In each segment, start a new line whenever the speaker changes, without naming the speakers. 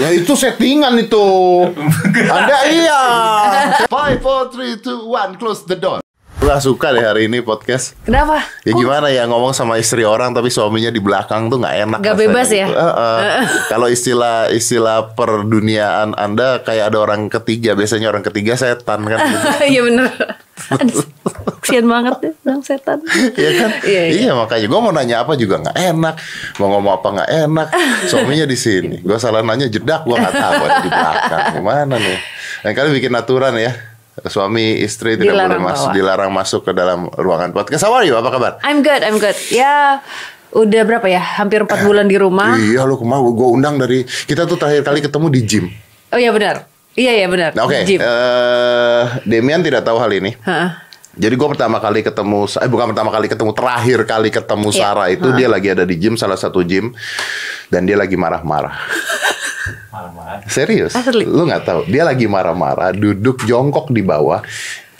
Ya itu settingan itu. Anda iya. 5 4 3 2 1 close the door. Gak suka deh hari ini podcast.
Kenapa?
Ya
Kok
gimana ya ngomong sama istri orang tapi suaminya di belakang tuh nggak enak.
Nggak
rasanya
bebas ya?
gitu. Heeh. Kalau istilah istilah perduniaan Anda kayak ada orang ketiga, biasanya orang ketiga setan kan. gitu.
Iya bener Aduh, Kesian banget deh Bang setan
Iya kan?
Iya, iya.
makanya gue mau nanya apa juga nggak enak, mau ngomong apa nggak enak. Suaminya di sini, gue salah nanya jedak gue nggak tahu ada di belakang gimana nih. Lain kali bikin aturan ya, suami istri tidak
Dilarang
boleh masuk,
bawa.
dilarang masuk ke dalam ruangan podcast. How are you? Apa kabar?
I'm good I'm good Ya Udah berapa ya Hampir 4 bulan di rumah
Iya lu kemarin gue undang dari kita tuh terakhir kali ketemu di gym.
Oh iya benar Iya iya benar
Nah, Oke, eh
Di gym.
Demian tidak tahu hal ini.
Heeh.
Jadi gue pertama kali ketemu, eh bukan pertama kali ketemu, terakhir kali ketemu
Iya.
Sarah itu dia lagi ada di gym salah satu gym dan dia lagi marah-marah.
Malam-malam.
Serius?
Asli.
Lu nggak tahu? Dia lagi marah-marah, duduk jongkok di bawah,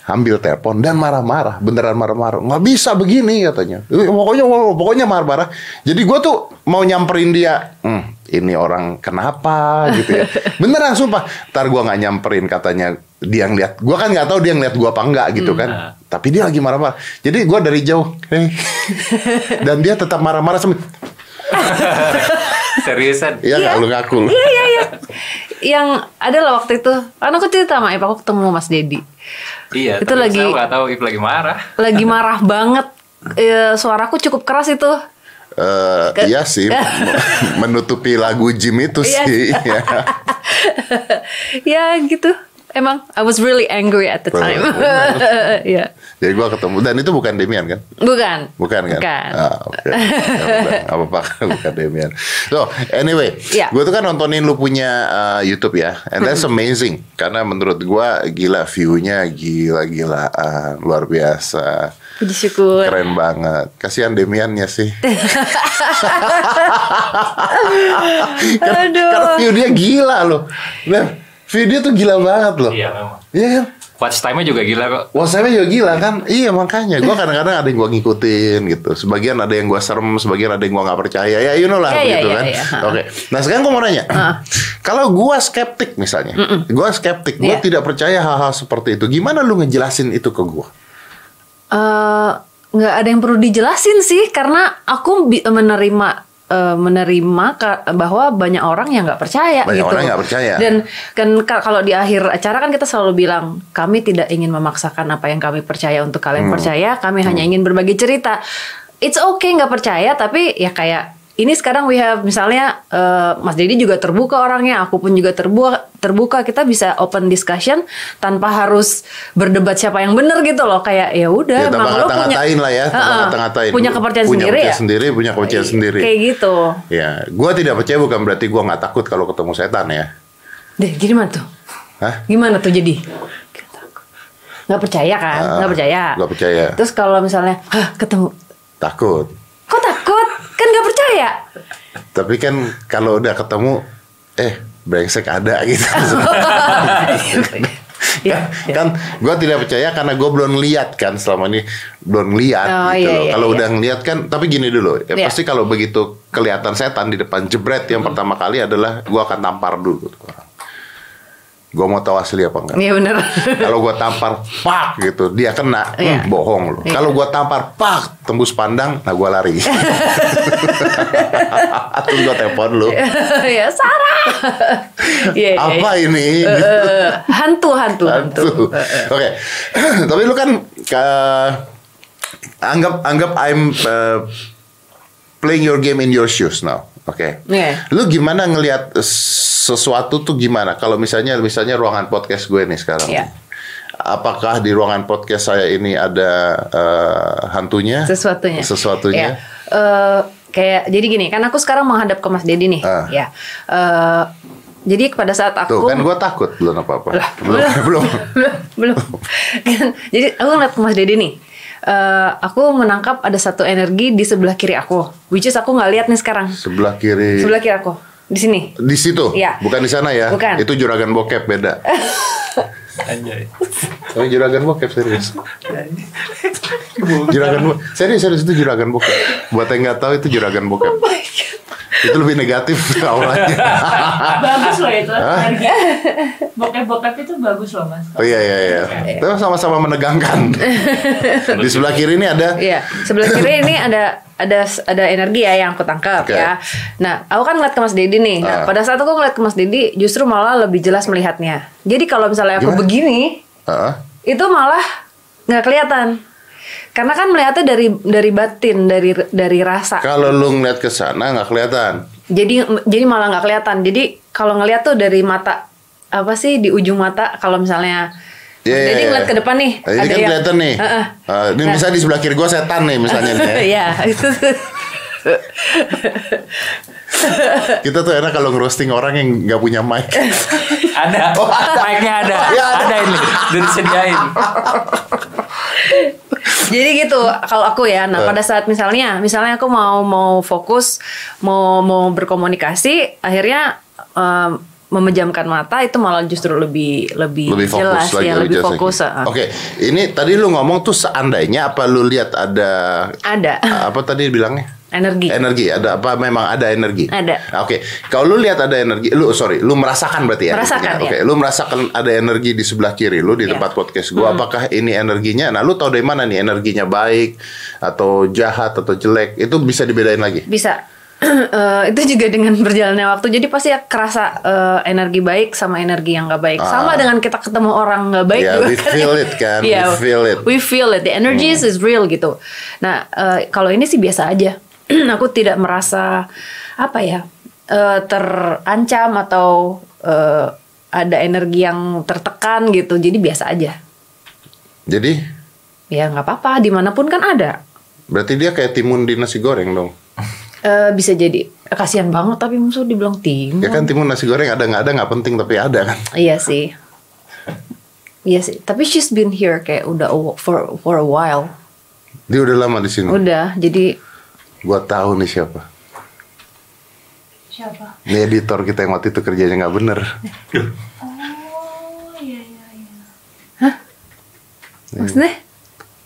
ambil telepon dan marah-marah, beneran marah-marah. Nggak bisa begini katanya. Eh, Pokoknya pokoknya marah-marah. Jadi gue tuh mau nyamperin dia. Hmm, ini orang kenapa gitu ya. Beneran sumpah. Ntar gue nggak nyamperin katanya dia ngeliat. Gue kan nggak tahu dia ngeliat gue apa enggak gitu kan.
Hmm.
Tapi dia lagi marah-marah. Jadi gue dari jauh. "Eh." dan dia tetap marah-marah sambil.
Seriusan.
Iya nggak lu ngaku lu.
Iya iya iya Yang ada lah waktu itu Karena aku cerita sama Ip Aku ketemu Mas Dedi
Iya.
Itu
tapi
lagi-
Saya nggak tahu Ip lagi marah.
Lagi marah banget Eh, Suaraku cukup keras itu
Eh,
Ke-
iya sih, menutupi lagu Jim itu
Iya.
sih. Iya.
Ya gitu Emang I was really angry at the time Iya
Jadi gua ketemu dan itu bukan Demian kan?
Bukan
Bukan kan?
Bukan
Ah, oke. Ya, bukan. Nggak apa-apa bukan Demian. So, anyway,
Iya.
gua tuh kan nontonin lu punya eh, YouTube ya. And that's amazing karena menurut gua gila view-nya gila-gilaan, luar biasa.
Puji syukur
Keren banget. Kasihan Demiannya sih.
Aduh.
Karena view dia gila loh. Nah, view dia tuh gila banget loh.
Iya memang.
Iya kan?
Watch time-nya juga gila kok.
WhatsApp-nya juga gila kan? Iya makanya gue kadang-kadang ada yang gue ngikutin gitu. Sebagian ada yang gue serem, sebagian ada yang gue nggak percaya. Ya you know lah
Iya,
begitu
iya,
kan.
iya, iya.
Oke. Nah sekarang gue mau nanya, kalau gue skeptik misalnya, gue skeptik, gue
Iya.
tidak percaya hal-hal seperti itu. Gimana lu ngejelasin itu ke gue?
Eh, nggak ada yang perlu dijelasin sih karena aku bi- menerima eh, menerima ka- bahwa banyak orang yang nggak percaya
Banyak
gitu.
orang nggak percaya.
Dan kan ka- kalau di akhir acara kan kita selalu bilang kami tidak ingin memaksakan apa yang kami percaya untuk kalian
Hmm.
percaya, kami hanya ingin berbagi cerita. It's okay nggak percaya tapi ya kayak ini sekarang we have misalnya eh, Mas Dedi juga terbuka orangnya, aku pun juga terbuka terbuka kita bisa open discussion tanpa harus berdebat siapa yang benar gitu loh kayak ya
Ya,
udah
tambah
emang lo punya
ngata-ngatain lah ya, tambah
Heeh.
ngata-ngatain.
punya kepercayaan
Punya
sendiri
kepercayaan
ya
sendiri, punya kepercayaan sendiri.
kayak gitu
Ya, gue tidak percaya bukan berarti gue nggak takut kalau ketemu setan ya.
deh gimana tuh
Hah?
gimana tuh jadi nggak percaya kan
Ah,
nggak percaya
nggak percaya.
terus kalau misalnya Hah, ketemu
Takut.
kok takut kan nggak percaya
Tapi kan kalau udah ketemu, eh brengsek ada gitu.
Iya,
kan,
iya.
kan gue tidak percaya karena gue belum lihat kan selama ini belum lihat
Oh,
gitu
iya,
loh.
iya,
kalau
iya.
udah ngeliat kan, tapi gini dulu, ya
Iya.
pasti kalau begitu kelihatan setan di depan jebret yang pertama kali adalah gue akan tampar dulu. Gue mau tahu asli apa enggak.
iya bener
Kalau gua tampar pak gitu, dia kena, hmm,
Iya.
bohong lu.
Iya.
Kalau gua tampar pak tembus pandang, nah gua lari. Terus gua telepon lu.
ya Sarah Iya, iya,
Apa
iya.
ini?
Eh, hantu hantu hantu,
Hantu.
eh.
Oke. Tapi lu kan eh, anggap anggap I'm eh, playing your game in your shoes now. Oke.
Iya.
Lu gimana ngelihat sesuatu tuh gimana? Kalau misalnya misalnya ruangan podcast gue nih sekarang.
Iya.
Apakah di ruangan podcast saya ini ada eh, hantunya?
sesuatunya
Sesuatunya.
Ya. Eh, kayak jadi gini kan aku sekarang menghadap ke Mas Dedi nih
Ah.
ya Eh, jadi pada saat aku
Tuh kan gue takut belum apa-apa.
Lah,
Belum belum.
belum belum Kan, jadi aku ngeliat ke Mas Dedi nih Eh, aku menangkap ada satu energi di sebelah kiri aku which is aku nggak lihat nih sekarang
Sebelah kiri.
sebelah kiri aku di sini
Di situ.
Iya.
Bukan di sana ya.
Bukan.
Itu juragan bokep beda.
Anjay.
Tapi juragan bokep serius. juragan bokep. Serius serius itu juragan bokep. Buat yang nggak tahu itu juragan bokep.
Oh my God.
Itu lebih negatif auranya.
bagus loh itu energi bokep-bokep itu bagus loh mas
Oh iya iya iya. Tapi sama-sama menegangkan. Di sebelah kiri ini ada
Iya, sebelah kiri ini ada ada ada energi ya yang aku tangkap
Oke.
ya. Nah, aku kan ngeliat ke Mas Dedi nih.
Ah.
Nah, pada saat aku ngeliat ke Mas Dedi, justru malah lebih jelas melihatnya. Jadi kalau misalnya aku
Gimana?
begini,
Heeh.
itu malah nggak kelihatan. Karena kan melihatnya dari dari batin, dari dari rasa.
Kalau lu ngeliat ke sana nggak kelihatan.
Jadi jadi malah nggak kelihatan. Jadi kalau ngelihat tuh dari mata apa sih di ujung mata kalau misalnya
Iya,
Mas
iya,
Dedi
iya.
ngeliat ke depan nih.
Nah, Ini
ada
kan
yang-
kelihatan nih.
Heeh.
Eh, ini
Nah.
misalnya di sebelah kiri gua setan nih misalnya nih. ya.
Iya, itu tuh. Iya.
Kita tuh enak kalau ngerosting orang yang nggak punya mic.
Oh, Ada. Mic-nya ada.
Iya, ada.
ada ini. Udah disediain.
Jadi gitu kalau aku ya. Nah,
Eh.
pada saat misalnya misalnya aku mau mau fokus, mau mau berkomunikasi, akhirnya em, memejamkan mata itu malah justru lebih lebih,
lebih fokus
jelas
lagi
ya, lebih
jelas
fokus.
lagi.
heeh.
Oke, ini tadi lu ngomong tuh seandainya apa lu lihat ada
Ada
apa tadi bilangnya?
energi.
Energi ada apa memang ada energi?
Iya. Ada.
Nah, Oke, kalau lu lihat ada energi, lu sorry, lu merasakan berarti ya?
Merasakan, Iya.
artinya. Oke,
ya.
lu merasakan ada energi di sebelah kiri lu di tempat podcast gua.
Hmm.
Apakah ini energinya? Nah, lu tahu dari mana nih energinya baik atau jahat atau jelek? Itu bisa dibedain lagi.
Bisa. Eh, itu juga dengan berjalannya waktu jadi pasti ya kerasa eh, energi baik sama energi yang nggak baik
Ah.
sama dengan kita ketemu orang nggak baik
Ya,
juga
we
kan.
feel it kan, we
Iya,
feel it. Hmm.
we feel it the energies is real gitu nah eh, kalau ini sih biasa aja aku tidak merasa apa ya eh, terancam atau eh, ada energi yang tertekan gitu jadi biasa aja
Jadi
ya nggak apa-apa dimanapun kan ada
berarti dia kayak timun di nasi goreng dong.
Eh, bisa jadi kasihan banget tapi musuh dibilang tim
Ya kan timun nasi goreng ada nggak ada nggak penting tapi ada kan.
Iya sih. Iya sih, tapi she's been here kayak udah a- for for a while.
Dia udah lama di sini.
Udah, jadi
Gua tahu nih siapa.
siapa
Ini editor kita yang waktu itu kerjanya nggak bener.
oh iya iya iya
maksudnya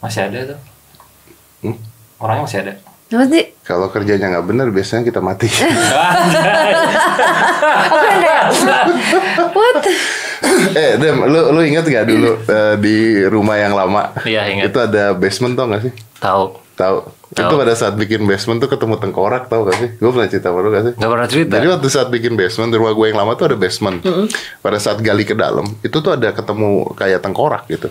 Masih ada tuh.
Hmm?
Orangnya masih ada.
apa sih?
Kalau kerjanya nggak bener biasanya kita mati.
Aku yang kayak what?
eh, Dem, lu lu ingat nggak dulu eh, di rumah yang lama?
Iya, ingat.
Itu ada basement tau nggak sih?
Tahu.
Tahu.
Tahu.
Itu pada saat bikin basement tuh ketemu tengkorak tau gak sih? Gue pernah cerita sama lu gak sih?
Gak pernah cerita.
Jadi waktu saat bikin basement di rumah gue yang lama tuh ada basement. Pada saat gali ke dalam itu tuh ada ketemu kayak tengkorak gitu.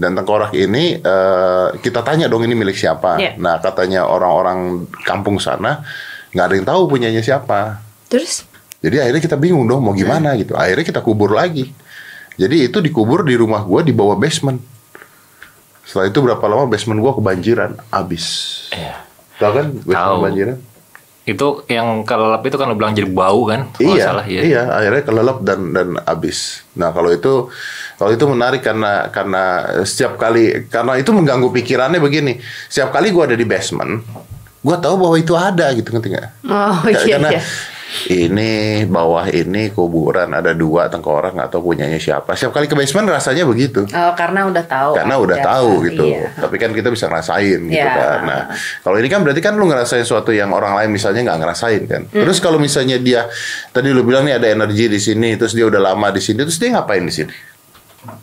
Dan tengkorak ini eh, kita tanya dong ini milik siapa.
Iya.
Nah katanya orang-orang kampung sana nggak ada yang tahu punyanya siapa.
Terus
Jadi akhirnya kita bingung dong mau gimana gitu. Akhirnya kita kubur lagi. Jadi itu dikubur di rumah gue di bawah basement. Setelah itu berapa lama basement gue kebanjiran abis.
Iya.
Tahu kan basement
Tahu.
kebanjiran?
Itu yang kelelep itu kan lo bilang jadi bau kan? Kalau nggak
Iya,
salah,
iya, akhirnya kelelep dan dan habis. Nah kalau itu kalau itu menarik karena karena setiap kali karena itu mengganggu pikirannya begini. Setiap kali gua ada di basement, gua tahu bahwa itu ada gitu ngerti nggak?
oh
Ka-
iya
karena
iya.
ini bawah ini kuburan ada dua tengkorak nggak tahu punyanya siapa. Setiap kali ke basement rasanya begitu
Oh, karena udah tahu.
karena udah
aja.
tahu gitu.
Iya.
Tapi kan kita bisa ngerasain gitu
Iya.
kan. Nah, kalau ini kan berarti kan lu ngerasain sesuatu yang orang lain misalnya nggak ngerasain kan.
Hmm.
Terus kalau misalnya dia tadi lu bilang nih ada energi di sini, terus dia udah lama di sini, terus dia ngapain di sini?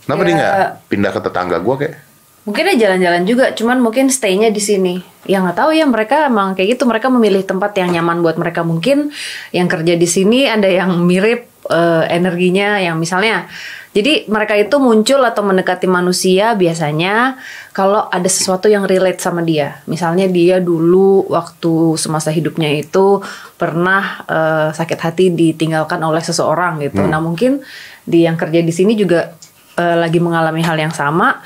Kenapa dia
Ya.
nggak pindah ke tetangga gua kayak?
Mungkin dia jalan-jalan juga, cuman mungkin stay-nya di sini. Ya nggak tahu ya mereka emang kayak gitu. Mereka memilih tempat yang nyaman buat mereka mungkin. Yang kerja di sini ada yang mirip eh, energinya, yang misalnya. Jadi mereka itu muncul atau mendekati manusia biasanya kalau ada sesuatu yang relate sama dia. Misalnya dia dulu waktu semasa hidupnya itu pernah eh, sakit hati ditinggalkan oleh seseorang gitu. Nah mungkin di yang kerja di sini juga eh, lagi mengalami hal yang sama.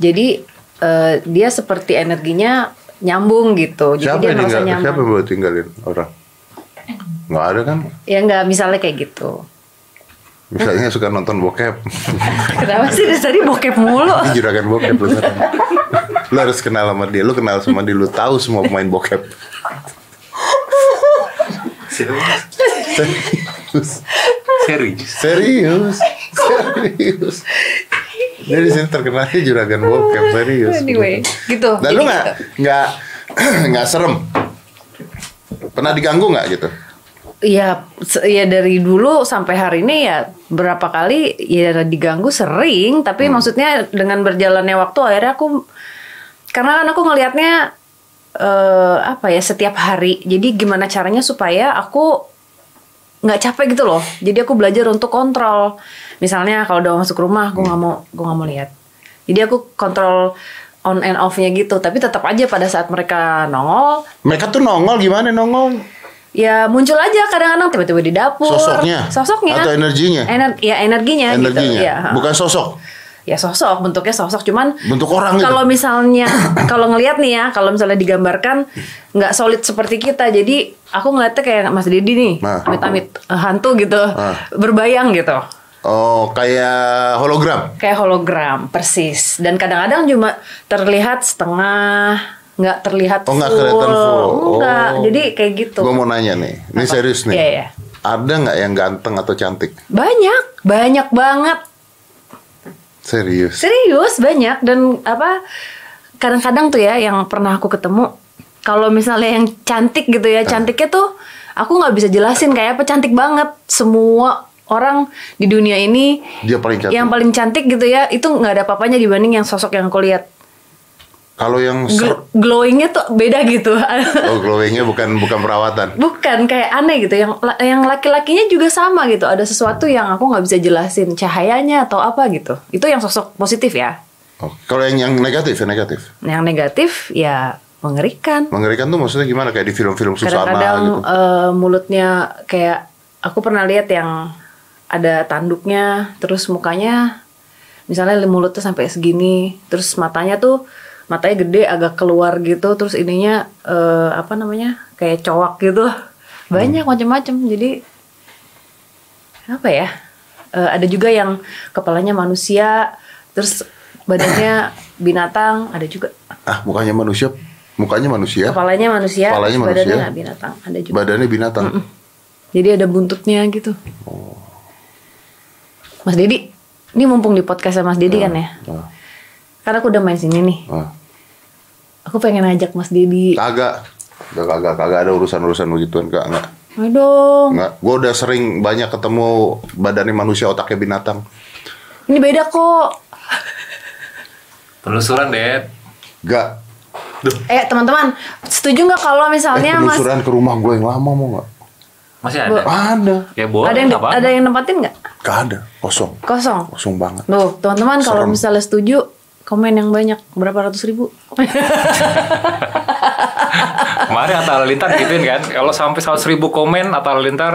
Jadi eh, dia seperti energinya nyambung gitu. Jadi
Siapa
dia
yang
merasa
tinggal?
nyaman.
Siapa yang boleh tinggalin orang? Nggak ada kan?
Ya nggak misalnya kayak gitu.
Misalnya
Eh.
suka nonton bokep,
Kenapa sih dari tadi bokep mulu?
Ini juragan bokep lu. sekarang. lu harus kenal sama dia, lu kenal sama dia, lu tahu semua pemain bokep. Serius.
Serius.
Serius, serius. Jadi sini terkenalnya juragan bokep Iya, serius.
Anyway, gitu.
Dan
Jadi
lu nggak
gitu.
nggak nggak serem. Pernah diganggu nggak gitu?
ya se- ya dari dulu sampai hari ini ya berapa kali ya diganggu sering tapi maksudnya dengan berjalannya waktu akhirnya aku karena kan aku ngelihatnya eh apa ya setiap hari jadi gimana caranya supaya aku nggak capek gitu loh jadi aku belajar untuk kontrol misalnya kalau udah masuk rumah aku nggak mau gue nggak mau lihat jadi aku kontrol on and off-nya gitu tapi tetap aja pada saat mereka nongol
Mereka tuh nongol gimana nongol?
ya muncul aja kadang-kadang tiba-tiba di dapur
Sosoknya?
sosoknya
Atau energinya?
Ener- ya energinya,
Energinya,
gitu ya
bukan sosok.
ya sosok bentuknya sosok cuman
Bentuk orang gitu.
kalau misalnya kalau ngelihat nih ya kalau misalnya digambarkan nggak solid seperti kita jadi aku ngeliatnya kayak Mas Dedi nih
Nah.
amit-amit eh, hantu gitu
Ah.
berbayang gitu
Oh, kayak hologram.
kayak hologram persis dan kadang-kadang cuma terlihat setengah nggak terlihat
Oh, nggak
full.
kelihatan full.
Nggak.
Oh.
jadi kayak gitu
Gue mau nanya nih, ini
Apa?
serius nih.
Iya, iya.
Ada nggak yang ganteng atau cantik?
banyak banyak banget
Serius.
Serius banyak dan apa kadang-kadang tuh ya yang pernah aku ketemu kalau misalnya yang cantik gitu ya cantiknya tuh aku nggak bisa jelasin kayak apa cantik banget semua orang di dunia ini
Dia paling cantik.
yang paling cantik gitu ya itu nggak ada apa-apanya dibanding yang sosok yang aku lihat
Kalau yang ser-
Gl- glowingnya tuh beda gitu
oh glowingnya bukan bukan perawatan.
bukan kayak aneh gitu yang la- yang laki-lakinya juga sama gitu ada sesuatu yang aku nggak bisa jelasin cahayanya atau apa gitu itu yang sosok positif ya
Oh, kalau yang yang negatif, yang negatif.
yang negatif ya mengerikan
Mengerikan tuh maksudnya gimana kayak di film-film Susana
kadang-kadang
gitu.
eh, mulutnya kayak aku pernah lihat yang ada tanduknya terus mukanya misalnya mulutnya sampai segini terus matanya tuh matanya gede agak keluar gitu terus ininya eh, apa namanya kayak cowok gitu banyak macam-macam jadi apa ya Eh, ada juga yang kepalanya manusia terus badannya binatang ada juga
Ah, mukanya manusia, mukanya manusia,
kepalanya manusia
Kepalanya
terus badannya
manusia.
nggak binatang ada juga
badannya binatang.
jadi ada buntutnya gitu.
Oh.
Mas Dedi, ini mumpung di podcast sama Mas Dedi kan ya.
Nah,
Karena aku udah main sini nih.
nah.
Aku pengen ajak Mas Dedi.
Kagak. Udah kagak kagak ada urusan-urusan begituan kak nggak
Ayo dong.
nggak gue udah sering banyak ketemu badannya manusia otaknya binatang
Ini beda kok.
Penelusuran deh.
Gak
Eh teman-teman, setuju nggak kalau
eh,
misalnya Mas
penelusuran ke rumah gue yang lama mau nggak
Masih ada.
ada
Ya boleh.
ada yang
apa?
ada yang nempatin nggak?
gak ada kosong
Kosong.
kosong banget
Loh, teman-teman kalau
Serem.
misalnya setuju komen yang banyak berapa ratus ribu
Kemarin Atta Halilintar gituin kan. Kalau sampai 100 ribu komen Atta Halilintar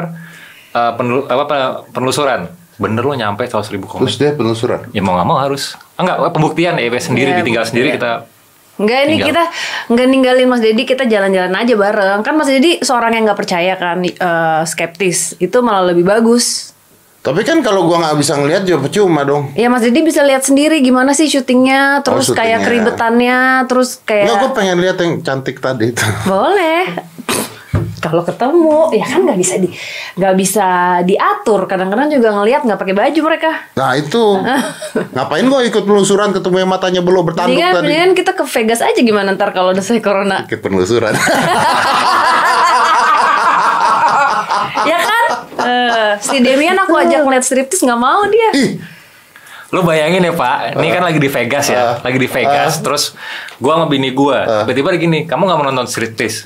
eh, penelu- apa, pe- penelusuran. Bener lo nyampe 100 ribu komen.
terus dia penelusuran
Ya mau nggak mau harus. Ah, Enggak, pembuktian ya sendiri
Iya,
Ya,
ditinggal sendiri kita.
Enggak ini
Tinggal.
kita nggak ninggalin Mas Dedi kita jalan-jalan aja bareng kan Mas Dedi seorang yang nggak percaya kan eh, skeptis itu malah lebih bagus
tapi kan kalau gue nggak bisa ngeliat juga percuma dong
Ya Mas Didi bisa lihat sendiri gimana sih syutingnya, terus
Oh, syutingnya.
kayak keribetannya, terus
Nggak, gue
kayak
pengen lihat yang cantik tadi itu
boleh. Kalau ketemu, ya kan nggak bisa di nggak bisa diatur. Kadang-kadang juga ngelihat nggak pakai baju mereka.
nah itu ngapain gue ikut penelusuran ketemu yang matanya belum bertanduk
Mendingan,
tadi
kan mendingan kita ke Vegas aja gimana ntar kalau udah saya corona.
ikut penelusuran
ya kan? Eh, si Demian aku ajak ngeliat striptease nggak mau dia.
ih
Lo bayangin ya Pak, ini kan lagi di Vegas ya,
Ah.
lagi di Vegas. Terus gua sama bini gua, tiba-tiba gini, kamu nggak mau nonton striptease?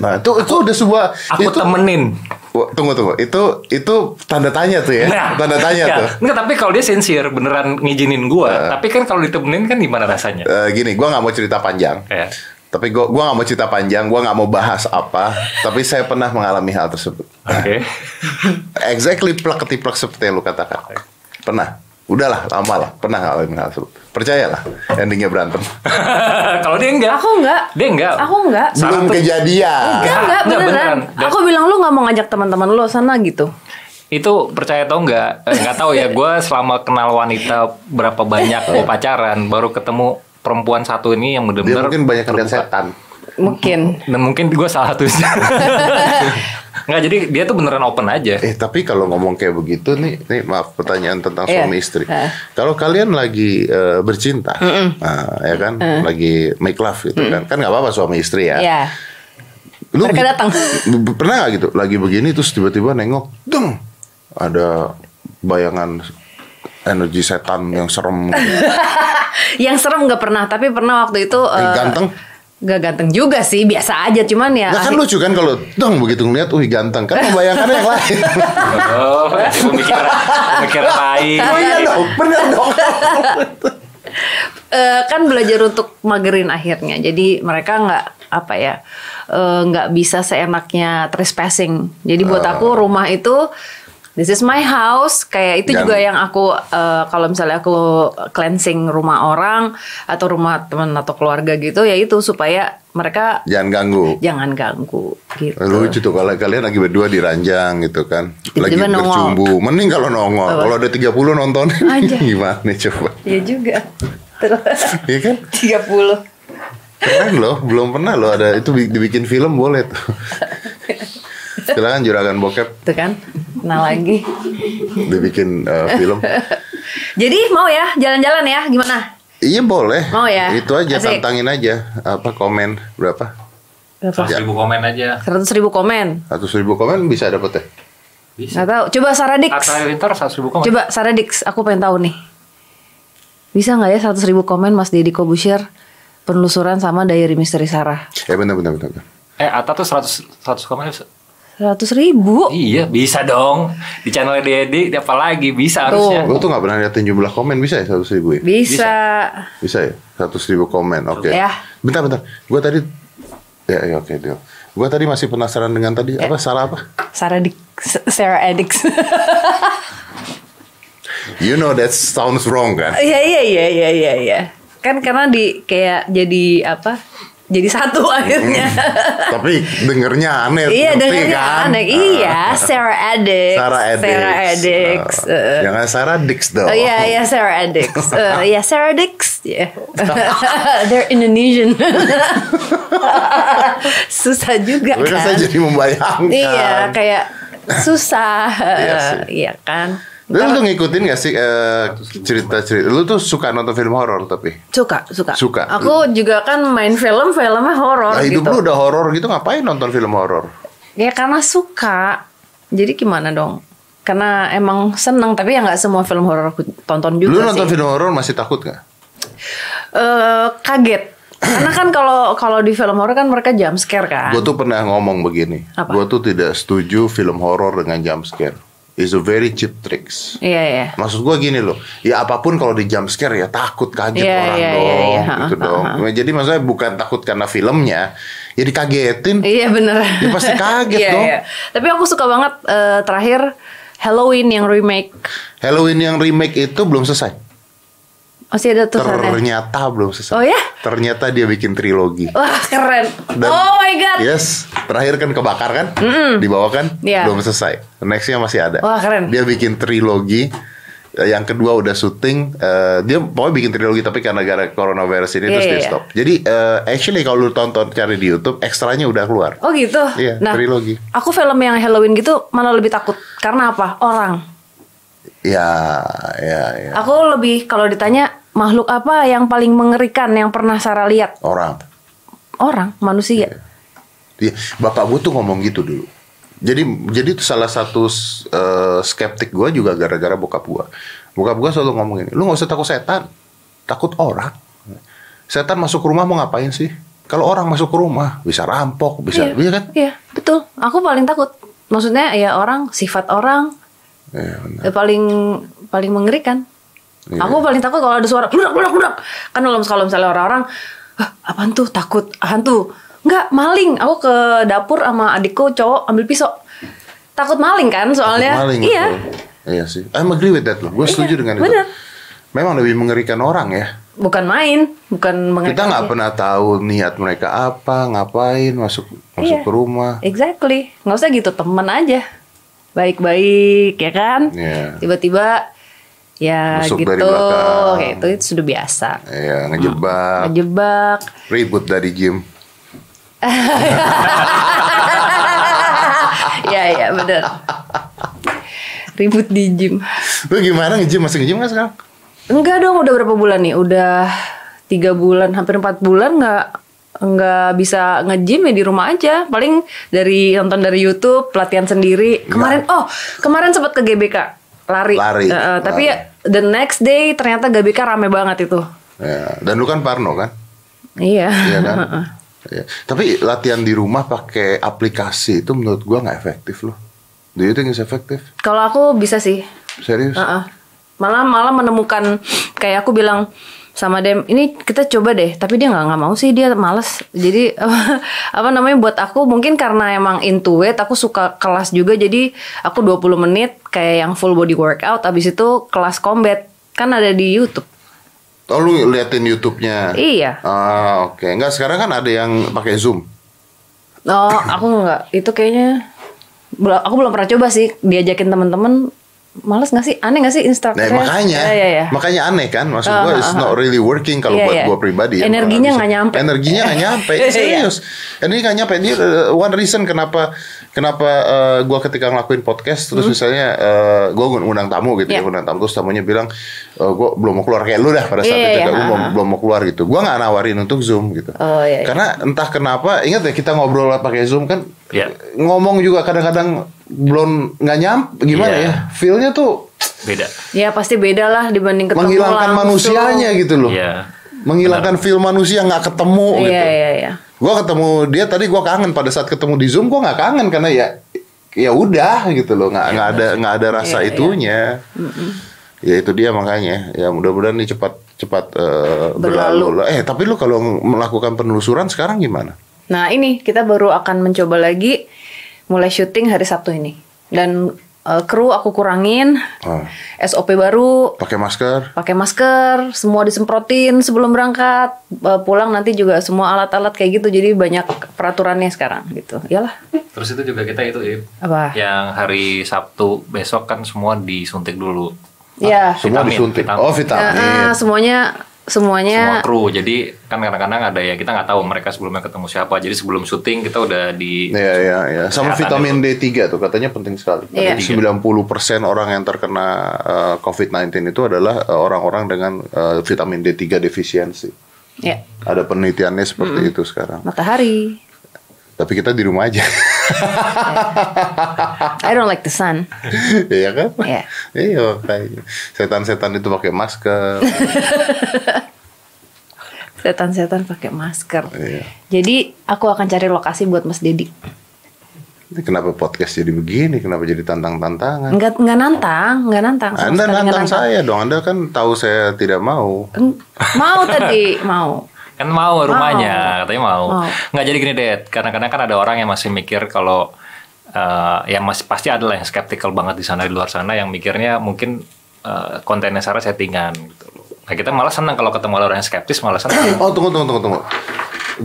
Eh. nah itu itu udah sebuah
Aku
itu,
temenin.
Wah, tunggu tunggu itu itu tanda tanya tuh ya tanda tanya
enggak.
tuh
Enggak, Nah, iya. tapi kalau dia sincere beneran ngizinin gua, tapi kan kalau ditemenin kan gimana rasanya?
Eh, gini, gua nggak mau cerita panjang.
Ya.
Tapi gua gua nggak mau cerita panjang, gua nggak mau bahas apa. tapi saya pernah mengalami hal tersebut.
Oke.
Exactly plek ketiplek seperti yang lu katakan. Pernah. Udahlah, lama lah. Pernah ngalamin hal tersebut. Percayalah, endingnya berantem.
kalau dia enggak,
Aku nggak.
Dia enggak.
Aku nggak.
Sa-
Belum
Satu.
kejadian.
Enggak, enggak,
Enggak,
beneran.
beneran.
Aku bilang lu nggak mau ngajak teman-teman lu sana gitu.
Itu percaya atau enggak? Eh, Enggak tahu ya. Gue selama kenal wanita berapa banyak gue pacaran, baru ketemu perempuan satu ini yang
Dia
bener-bener
mungkin banyak lihat setan.
Mungkin.
dan mungkin gue salah satunya. Enggak, jadi dia tuh beneran open aja.
Eh tapi kalau ngomong kayak begitu nih, nih maaf pertanyaan tentang
Iya.
suami istri.
Heeh.
Kalau kalian lagi eh, bercinta,
Iya.
nah, ya kan, lagi make love gitu kan, kan nggak apa-apa suami istri ya.
Ya.
Lu
Mereka datang.
b- Pernah gak gitu? Lagi begini terus tiba-tiba nengok, dong. Ada bayangan energi setan yang serem.
Iya. Yang serem nggak pernah, tapi pernah waktu itu
Yang
eh,
ganteng?
Gak ganteng juga sih, biasa aja cuman ya.
Nah, kan
akhir-
lucu kan kalau dong begitu ngeliat, wih ganteng. Kan membayangkan yang lain.
Oh, itu pemikiran, pemikiran lain.
Oh iya dong, bener dong.
Eh, kan belajar untuk magerin akhirnya. Jadi mereka nggak apa ya eh, nggak bisa seenaknya trespassing. Jadi buat aku rumah itu this is my house. Kayak itu
Dan-
juga yang aku eh, kalau misalnya aku cleansing rumah orang atau rumah teman atau keluarga gitu, ya itu supaya mereka
Jangan ganggu.
jangan ganggu gitu.
Lucu tuh kalau kalian lagi berdua di ranjang gitu kan. Lagi
Tiba-tiba nongol.
bercumbu. Mending kalau nongol. Kalau ada 30 nonton
Aja.
gimana coba.
Iya juga. Terus
Iya kan?
30
Keren loh, belum pernah loh ada itu bi- dibikin film boleh tuh. Silakan juragan bokep
tuh kan. Nah lagi.
dibikin eh, film.
Jadi mau ya jalan-jalan ya gimana?
Iya boleh.
Mau ya?
Itu aja
Asik.
tantangin aja apa komen berapa?
Berapa?
Seratus ribu komen aja.
100 ribu komen.
100 ribu komen bisa dapet ya?
Bisa.
Gak tahu. Coba Saradix.
Atta Halilintar seratus ribu komen.
Coba Saradix. Aku pengen tahu nih. Bisa nggak ya 100 ribu komen Mas Deddy Kobusir penelusuran sama Diary Misteri Sarah?
Eh bentar bentar bentar. bentar.
Eh, Atta tuh seratus seratus komen.
100 ribu?
Iya, bisa dong. Di channelnya Dedi, apa lagi bisa harusnya.
Gue tuh gak pernah liatin jumlah komen bisa ya 100 ribu ya?
Bisa.
Bisa ya? 100 ribu komen, oke.
Ya.
Bentar, bentar. Gue tadi... Ya, ya oke, deal. Gue tadi masih penasaran dengan tadi, apa,
Ya.
salah apa?
Saradix. Sarah Adix.
You know that sounds wrong kan?
Iya iya iya iya iya iya. Kan karena di kayak jadi apa? Jadi satu akhirnya.
Tapi dengernya aneh,
Iya
ngerti
dengarnya
kan?
aneh. Iya, Sarah Adix.
Sarah Adix.
Sarah Adix.
Ah.
Eh.
Jangan Sarah Dix dong.
Oh iya iya Sarah Adix. Eh, ya Sarah Adix. Ya. They're Indonesian. susah juga
Gue kan saya
kan.
jadi membayangkan.
Iya kayak susah.
Iya sih.
Eh, Iya kan.
Lu tuh ngikutin gak sih eh, cerita-cerita? Lu tuh suka nonton film horor tapi?
Suka, suka.
Suka.
Aku juga kan main film, filmnya horor
Nah,
gitu.
hidup lu udah horor gitu ngapain nonton film horor?
Ya karena suka. Jadi gimana dong? Karena emang seneng tapi ya nggak semua film horor aku tonton juga
Lu
sih.
nonton film horor masih takut gak?
Eh, kaget. Karena kan kalau kalau di film horor kan mereka jump scare kan.
Gue tuh pernah ngomong begini.
Apa?
Gue tuh tidak setuju film horor dengan jump scare. It's a very cheap tricks.
Iya iya.
Maksud gue gini loh, ya apapun kalau di jump scare ya takut kaget
Iya,
orang
iya, iya,
dong,
iya.
gitu
Ha, ha,
dong. Jadi maksudnya bukan takut karena filmnya, ya dikagetin.
Iya bener.
Ya, pasti kaget
Iya,
dong.
iya. Tapi aku suka banget eh, terakhir Halloween yang remake.
Halloween yang remake itu belum selesai.
Masih ada tuh sana.
Ternyata belum selesai.
Oh, ya?
Ternyata dia bikin trilogi.
Wah keren.
Dan- iya.
oh my god.
Yes, terakhir kan kebakar kan? Dibawa kan?
Iya.
Belum selesai. Nextnya masih ada.
Wah, keren.
Dia bikin trilogi. Eh, Yang kedua udah syuting, eh, dia pokoknya bikin trilogi tapi karena gara coronavirus ini
Iya,
terus di
iya.
stop. Jadi eh, actually kalau lu tonton cari di YouTube, ekstranya udah keluar.
Oh gitu.
Iya, trilogi.
Aku film yang Halloween gitu malah lebih takut karena apa? Orang.
Ya, ya, ya.
Aku lebih kalau ditanya makhluk apa yang paling mengerikan yang pernah Sarah lihat?
Orang.
Orang, manusia.
Iya, bapak gue tuh ngomong gitu dulu. Jadi jadi itu salah satu s- eh, skeptik gue juga gara-gara bokap gue. Bokap gue selalu ngomong gini, lu nggak usah takut setan, takut orang. Setan masuk ke rumah mau ngapain sih? Kalau orang masuk ke rumah bisa rampok, bisa, iya kan?
Iya, betul. Aku paling takut. Maksudnya ya orang, sifat orang
Iya, benar.
eh, paling paling mengerikan.
Iya.
Aku paling takut kalau ada suara bludak bludak bludak. Kan kalau kalau misalnya orang-orang "Hah, apaan tuh takut hantu. Enggak, maling. Aku ke dapur sama adikku cowok ambil pisau. Takut maling kan soalnya.
Maling,
iya.
betul. Iya sih. I'm agree with that loh. Gue setuju dengan itu.
benar.
Memang lebih mengerikan orang ya.
Bukan main, bukan
Kita
mengerikan.
nggak pernah tahu niat mereka apa, ngapain masuk masuk
Iya.
ke rumah.
Exactly. Nggak usah gitu, temen aja. Baik-baik, ya kan?
Iya.
Tiba-tiba ya
Masuk
gitu.
dari belakang.
Kayak itu, itu sudah biasa.
Iya, ngejebak,
Ngejebak.
ribut dari gym.
Iya, iya, bener. Ribut di gym.
Lu gimana nge-gym? Masih nge-gym gak sekarang?
Enggak dong, udah berapa bulan nih? Udah tiga bulan, hampir empat bulan nggak nggak bisa nge-gym ya di rumah aja. Paling dari nonton dari YouTube, pelatihan sendiri. Kemarin oh, kemarin sempat ke GBK lari.
Iya. Lari.
Eh, eh, tapi
Lari.
the next day ternyata GBK rame banget itu.
Ya, Dan lu kan Parno kan?
Iya.
Iya kan? Iya. Tapi latihan di rumah pakai aplikasi itu menurut gua nggak efektif loh. Do you think it's effective?
Kalau aku bisa sih.
Serius?
Heeh. Malah malah menemukan kayak aku bilang sama Dem, ini kita coba deh. Tapi dia nggak nggak mau sih, dia males. Jadi apa namanya buat aku mungkin karena emang into it, aku suka kelas juga. Jadi aku 20 menit kayak yang full body workout habis itu kelas combat. Kan ada di YouTube.
Oh lu liatin YouTube-nya?
Iya.
Ah oke. Nggak sekarang kan ada yang pakai Zoom.
Oh, aku nggak. Itu kayaknya bel- aku belum pernah coba sih diajakin temen-temen Males nggak sih? Aneh nggak sih
Nah
instrukturnya?
makanya,
Iya, iya, iya.
makanya aneh kan maksud gua it's not really working kalau
Iya,
buat
iya.
gua pribadi. ya. Nggak
Energinya nggak
bisa.
nyampe.
Energinya nggak nyampe.
Iya.
Serius. Ini nggak nyampe. Ini uh, one reason kenapa kenapa uh, gua ketika ngelakuin podcast terus misalnya uh, gua ngundang tamu gitu
Hmm. Iya.
ya ngundang tamu terus tamunya bilang "Eh, gua belum mau keluar kayak lu dah pada saat
Iya,
itu kayak
iya,
gua
ha,
belum,
ha.
belum mau keluar gitu. Gua nggak nawarin untuk zoom gitu.
Oh, iya, iya.
Karena entah kenapa ingat ya kita ngobrol pakai zoom kan
Iya.
ngomong juga kadang-kadang belum nggak nyampe gimana
Iya.
ya feelnya tuh
Beda.
Ya pasti beda lah dibanding ketemu
menghilangkan
langsung.
manusianya gitu loh.
Iya.
Menghilangkan feel manusia nggak ketemu
Oh,
gitu.
Iya iya iya.
Gua ketemu dia tadi gua kangen pada saat ketemu di Zoom gua nggak kangen karena ya ya udah gitu loh
Iya,
nggak nggak ada nggak ada
Iya,
rasa itunya. Ya itu dia makanya ya mudah-mudahan ini cepat cepat eh,
Berlalu.
berlalu. Eh tapi lu kalau melakukan penelusuran sekarang gimana?
Nah ini kita baru akan mencoba lagi mulai syuting hari Sabtu ini dan eh, kru aku kurangin,
Ah.
SOP baru,
Pakai masker?
pakai masker, semua disemprotin sebelum berangkat, Eh, pulang nanti juga semua alat-alat kayak gitu jadi banyak peraturannya sekarang gitu. Iyalah
Terus itu juga kita itu Ip.
apa?
Yang hari Sabtu besok kan semua disuntik dulu. Ah,
Ya.
Semua
Vitamin,
disuntik.
vitamin.
Oh
Eh, eh,
vitamin.
semuanya
Semua
semuanya
kru. Jadi kan kadang-kadang ada ya kita nggak tahu mereka sebelumnya ketemu siapa. Jadi sebelum syuting kita udah di
Iya iya iya. Sama
Kesehatan
vitamin D3 tuh katanya penting sekali.
Iya.
Jadi 90% orang yang terkena eh, COVID-19 itu adalah eh, orang-orang dengan eh, vitamin D3 defisiensi.
ya
Ada penelitiannya seperti
Hmm.
itu sekarang.
matahari.
Tapi kita di rumah aja.
I don't like the sun.
Iya kan?
Iya.
Iya, makanya. Setan-setan itu pakai masker.
Setan-setan pakai masker.
Iya.
Jadi aku akan cari lokasi buat Mas Dedi.
Ini Kenapa podcast jadi begini? Kenapa jadi tantang-tantangan?
Nggak nggak nantang, nggak nantang. Hmm, sama
Anda
sekali nggak
nantang saya dong. Anda kan tahu saya tidak mau.
Eng- Mau tadi, mau.
kan mau rumahnya katanya
Mau.
mau. nggak jadi gini deh kadang-kadang kan ada orang yang masih mikir kalau eh, yang masih pasti adalah yang skeptical banget di sana di luar sana yang mikirnya mungkin eh, kontennya Sarah settingan gitu loh nah kita malah senang kalau ketemu orang yang skeptis malah senang
Oh, tunggu, tunggu, tunggu, tunggu.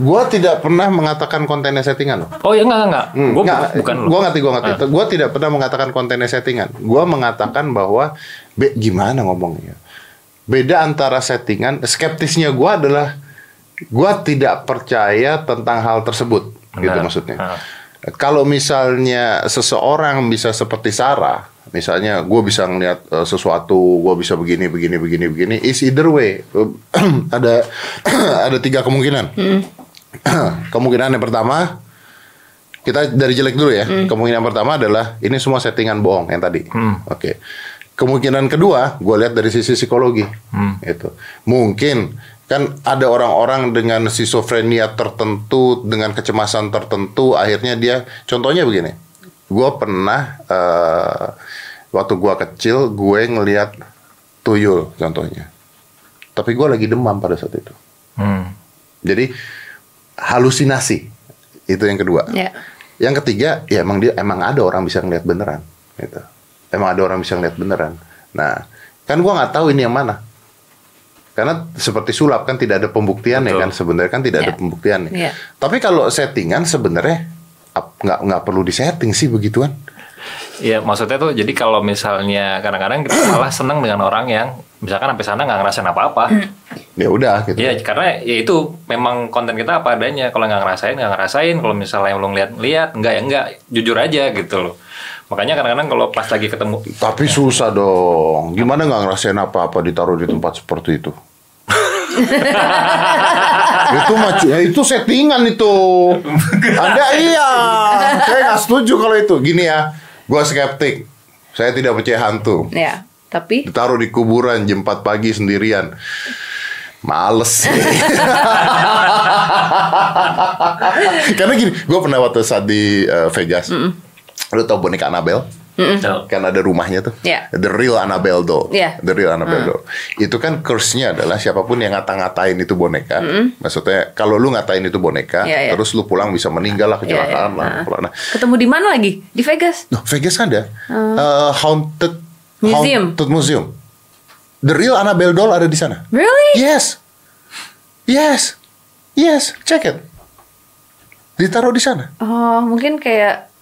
Gua tidak pernah mengatakan kontennya settingan loh.
oh ya enggak enggak, enggak.
Hmm,
Gua bu-
nggak,
bukan lu Ah.
Gua ngerti, gua ngerti. Gua tidak pernah mengatakan kontennya settingan. Gua mengatakan bahwa be, gimana ngomongnya. Beda antara settingan, skeptisnya gua adalah gua tidak percaya tentang hal tersebut, gitu
Benar.
maksudnya.
Ah.
Kalau misalnya seseorang bisa seperti Sarah, misalnya gue bisa ngeliat eh, sesuatu, gue bisa begini, begini, begini, begini, is either way. ada ada tiga kemungkinan. kemungkinan yang pertama, kita dari jelek dulu ya. Kemungkinan pertama adalah ini semua settingan bohong yang tadi. Oke. Kemungkinan kedua, gue lihat dari sisi psikologi. Itu mungkin kan ada orang-orang dengan schizophrenia tertentu, dengan kecemasan tertentu, akhirnya dia, contohnya begini, gue pernah eh, waktu gue kecil gue ngelihat tuyul contohnya, tapi gue lagi demam pada saat itu.
Hmm.
Jadi halusinasi itu yang kedua.
Ya.
Yang ketiga, ya emang dia emang ada orang bisa ngeliat beneran, gitu. Emang ada orang bisa ngeliat beneran. Nah, kan gua nggak tahu ini yang mana. Karena seperti sulap kan tidak ada pembuktiannya
Betul.
kan sebenarnya kan tidak ada
Ya.
pembuktiannya.
Ya.
Tapi kalau settingan sebenarnya ap- nggak nggak perlu disetting sih begituan.
Iya, maksudnya tuh jadi kalau misalnya kadang-kadang kita malah senang dengan orang yang misalkan sampai sana nggak ngerasain apa-apa.
Hmm.
Ya udah gitu.
Iya, karena ya itu memang konten kita apa adanya. Kalau nggak ngerasain, nggak ngerasain. Kalau misalnya belum lihat, lihat. Nggak ya nggak. Jujur aja gitu loh. Makanya kadang-kadang kalau pas lagi ketemu,
Tapi susah dong. Gimana nggak ngerasain apa-apa ditaruh di tempat seperti itu? itu mah cu- ya, itu settingan itu. Anda iya. Saya nggak setuju kalau itu. Gini ya, gua skeptik. Saya tidak percaya hantu.
Ya, tapi
Ditaruh di kuburan jam 4 pagi sendirian. Males sih. Karena gini, gue pernah waktu saat di eh, Vegas. Lu tau boneka Annabelle?
Tuh.
Kan ada rumahnya tuh.
Iya.
The real Annabelle doll.
Iya.
The real Annabelle doll. Itu kan curse-nya adalah siapapun yang ngata-ngatain itu boneka.
Hmm.
Maksudnya kalau lu ngatain itu boneka,
Iya, iya.
terus lu pulang bisa meninggal lah
ya, ya.
kecelakaan lah.
Nah.
apalah. Nah,
ketemu di mana lagi? Di Vegas.
Loh, Vegas kan ada. Eh, haunted
Hmm. Museum.
Haunted Museum. The real Annabelle doll ada di sana.
Really?
Yes. Yes. Yes, check it. Ditaruh di sana.
Oh, mungkin kayak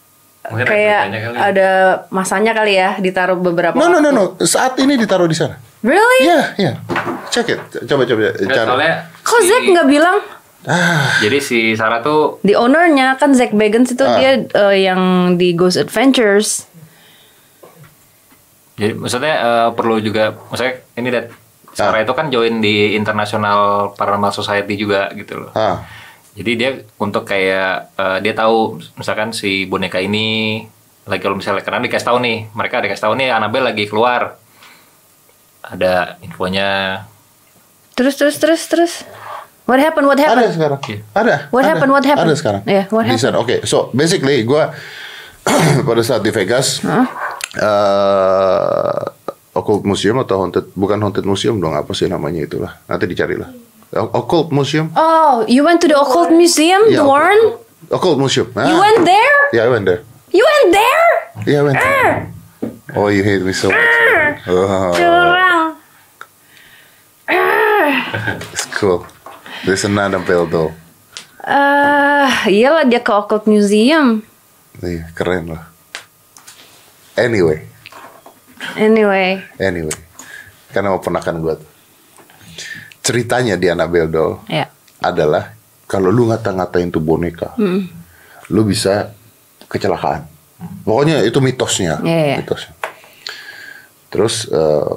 Mungkin
kayak
replikanya kali.
ada masanya kali ya ditaruh beberapa.
No, no, no, no. Saat ini ditaruh di sana.
Really?
Iya, iya. Check it. Coba coba eh,
Nggak,
cari. Ah.
soalnya
Kok
si-
Zack nggak bilang?
Jadi si Sarah tuh
The ownernya kan Zack Bagans itu
Ah.
dia eh, yang di Ghost Adventures.
jadi maksudnya eh, perlu juga maksudnya ini dat Sarah itu kan join di International Paranormal Society juga gitu loh.
Ah.
Jadi dia untuk kayak eh, dia tahu misalkan si boneka ini lagi kalau misalnya karena dikasih tahu nih mereka ada kasih tahu nih Annabelle lagi keluar ada infonya
Terus terus terus terus. What happened? What
Ada
happened?
sekarang.
Iya.
Ada.
What
ada.
happened? What happened?
Ada sekarang.
Iya, what
Di sana. Oke, so basically gua pada saat di Vegas eh occult museum atau haunted bukan haunted museum dong apa sih namanya itulah. Nanti dicarilah. Occult museum.
Oh, you went to the occult museum,
Iya,
the
occult-
Warren?
Occult museum. Ah.
You went there?
Yeah, I went there.
You went there?
Yeah, I went
Ah!
there. Oh, you hate me so much. Oh,
Curang.
it's cool. There's another bell though.
Eh, iyalah dia ke Occult Museum.
Iya, keren lah. Anyway,
Anyway,
anyway. Karena mau ponakan gue tuh. Ceritanya di Annabelle doll
ya.
adalah kalau lu ngata-ngatain tuh boneka,
Hmm.
lu bisa kecelakaan. Pokoknya itu mitosnya,
Iya, iya.
mitosnya. Terus eh,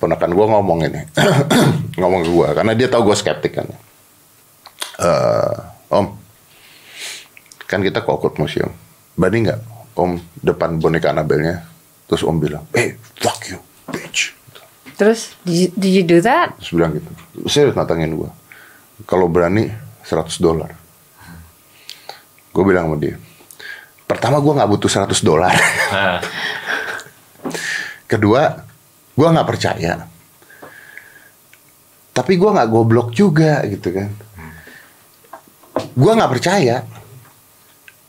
ponakan gue ngomong ini, ngomong ke gue karena dia tahu gue skeptik kan. Eh, om, kan kita ke Occult Museum. Berani nggak om depan boneka Annabelle-nya? Terus om bilang, eh fuck you, bitch.
Terus did you, did you do that?
Terus bilang gitu. Serius nantangin gue. Kalau berani 100 dolar. Gue bilang sama dia. Pertama gue nggak butuh 100 dolar.
nah,
Kedua, gue nggak percaya. Tapi gue nggak goblok juga gitu kan. Gue nggak percaya.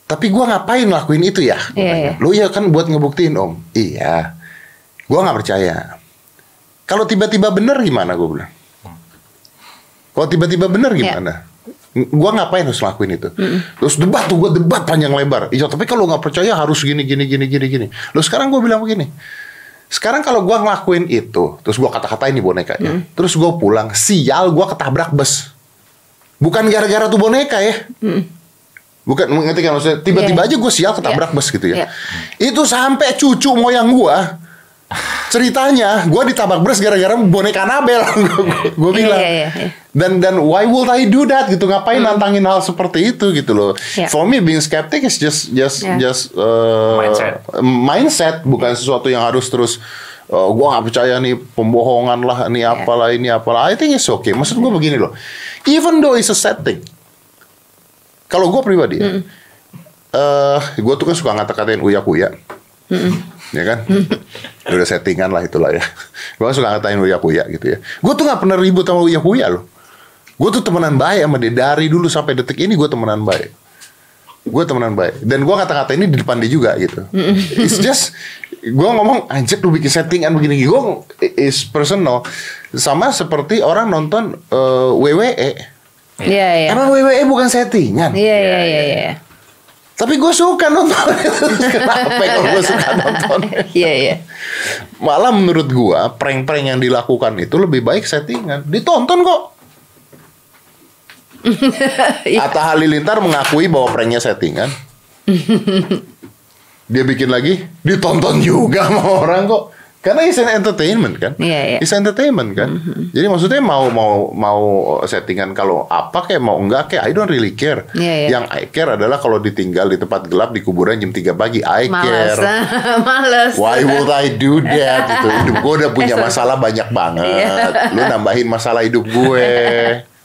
Tapi gue ngapain lakuin itu ya? Gua
Iya,
tanya.
iya.
Lu ya kan buat ngebuktiin om. Iya. Gue nggak percaya. Kalau tiba-tiba bener gimana gue bilang? Kalau tiba-tiba
Ya.
bener gimana? Gua ngapain harus lakuin itu? Terus debat tuh gue debat panjang lebar. Iya, tapi kalau nggak percaya harus gini gini gini gini gini. Lalu sekarang gue bilang begini. Sekarang kalau gua ngelakuin itu, terus gua kata-katain nih boneka ya. Terus gue pulang, sial gua ketabrak bus. Bukan gara-gara tuh boneka ya. Bukan ngerti kan maksudnya tiba-tiba
Iya.
aja gue sial ketabrak
Iya.
bus gitu ya.
Iya.
Itu sampai cucu moyang gua ceritanya gue ditabrak beras gara-gara boneka Nabel gue
Iya,
bilang
iya, iya, iya.
dan dan why would I do that gitu ngapain nantangin hal seperti itu gitu loh
Iya.
for me being skeptic is just just
Iya.
just uh,
Mindset.
mindset, bukan sesuatu yang harus terus uh, gue nggak percaya nih pembohongan lah ini apalah ini apalah I think it's okay maksud gue begini loh even though it's a setting kalau gue pribadi ya, eh gue tuh kan suka ngata-katain uya kuya ya kan udah settingan lah itulah ya gue suka ngatain uya kuya gitu ya gue tuh nggak pernah ribut sama uya kuya loh gue tuh temenan baik sama dia dari dulu sampai detik ini gue temenan baik gue temenan baik dan gue kata-kata ini di depan dia juga gitu it's just gue ngomong anjir lu bikin settingan begini gue is personal sama seperti orang nonton eh, WWE
Iya, iya.
emang WWE E bukan settingan
Iya, iya, iya, iya.
tapi gue suka nonton kenapa kalau gue suka nonton
Iya, iya.
malah menurut gua prank-prank yang dilakukan itu lebih baik settingan ditonton kok
Iya.
Atta Halilintar mengakui bahwa pranknya settingan dia bikin lagi ditonton juga sama orang kok Karena it's an entertainment kan,
Iya, Mm-hmm. iya.
it's entertainment kan. Jadi maksudnya mau mau mau settingan kalau apa kayak mau enggak kayak I don't really care.
Iya, iya.
Yang I care adalah kalau ditinggal di tempat gelap di kuburan jam 3 pagi I
Males,
care.
males.
Why would I do that? Gitu. Hidup gue udah punya masalah banyak banget. Lu nambahin masalah hidup gue.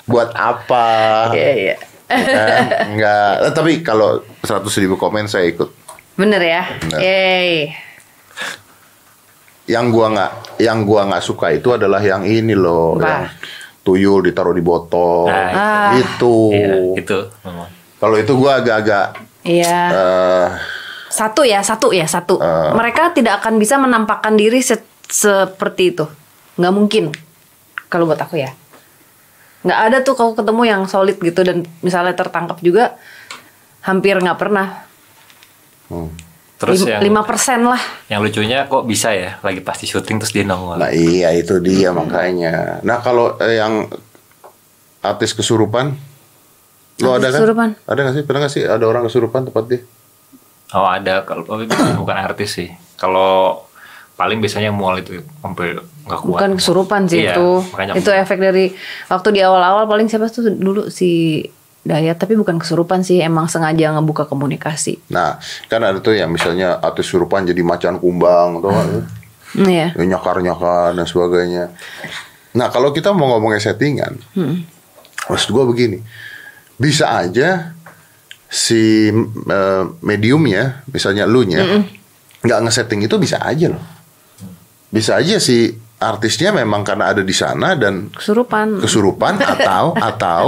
Buat apa?
Iya, iya.
Ya kan? Enggak. Eh, Tapi kalau 100 ribu komen saya ikut.
Bener ya?
Bener.
Yeay.
Yang gua nggak, yang gua nggak suka itu adalah yang ini loh,
Apa?
yang tuyul ditaruh di botol.
Nah,
itu.
Iya, itu memang.
Kalau itu gua agak-agak
Iya.
eh,
Satu ya, satu ya, satu.
Eh.
Mereka tidak akan bisa menampakkan diri se- seperti itu. Nggak mungkin. Kalau buat aku ya. Nggak ada tuh kalau ketemu yang solid gitu dan misalnya tertangkap juga hampir nggak pernah.
hmm.
Lim-
Terus yang
lima persen lah.
yang lucunya kok bisa ya lagi pasti syuting terus dia nongol.
Nah iya itu dia makanya. Nah kalau eh, yang artis kesurupan, lo
Artis
ada kan?
kesurupan.
Ada nggak sih? Pernah nggak sih ada orang kesurupan tempat dia?
Oh ada kalau tapi bukan artis sih. Kalau paling biasanya mual itu sampai nggak kuat.
Bukan kesurupan sih
Iya,
itu.
makanya
Itu
mual.
efek dari waktu di awal-awal paling siapa tuh dulu si Dayat tapi bukan kesurupan sih, emang sengaja ngebuka komunikasi.
Nah kan ada tuh yang misalnya artis kesurupan jadi macan kumbang atau
Hmm, Iya.
nyakar nyakar dan sebagainya. Nah kalau kita mau ngomongin settingan,
Hmm.
maksud gue begini, bisa aja si eh, mediumnya, misalnya lu nya,
Hmm.
nggak ngesetting itu bisa aja loh. Bisa aja si artisnya memang karena ada di sana dan
Kesurupan.
kesurupan
Hmm.
atau atau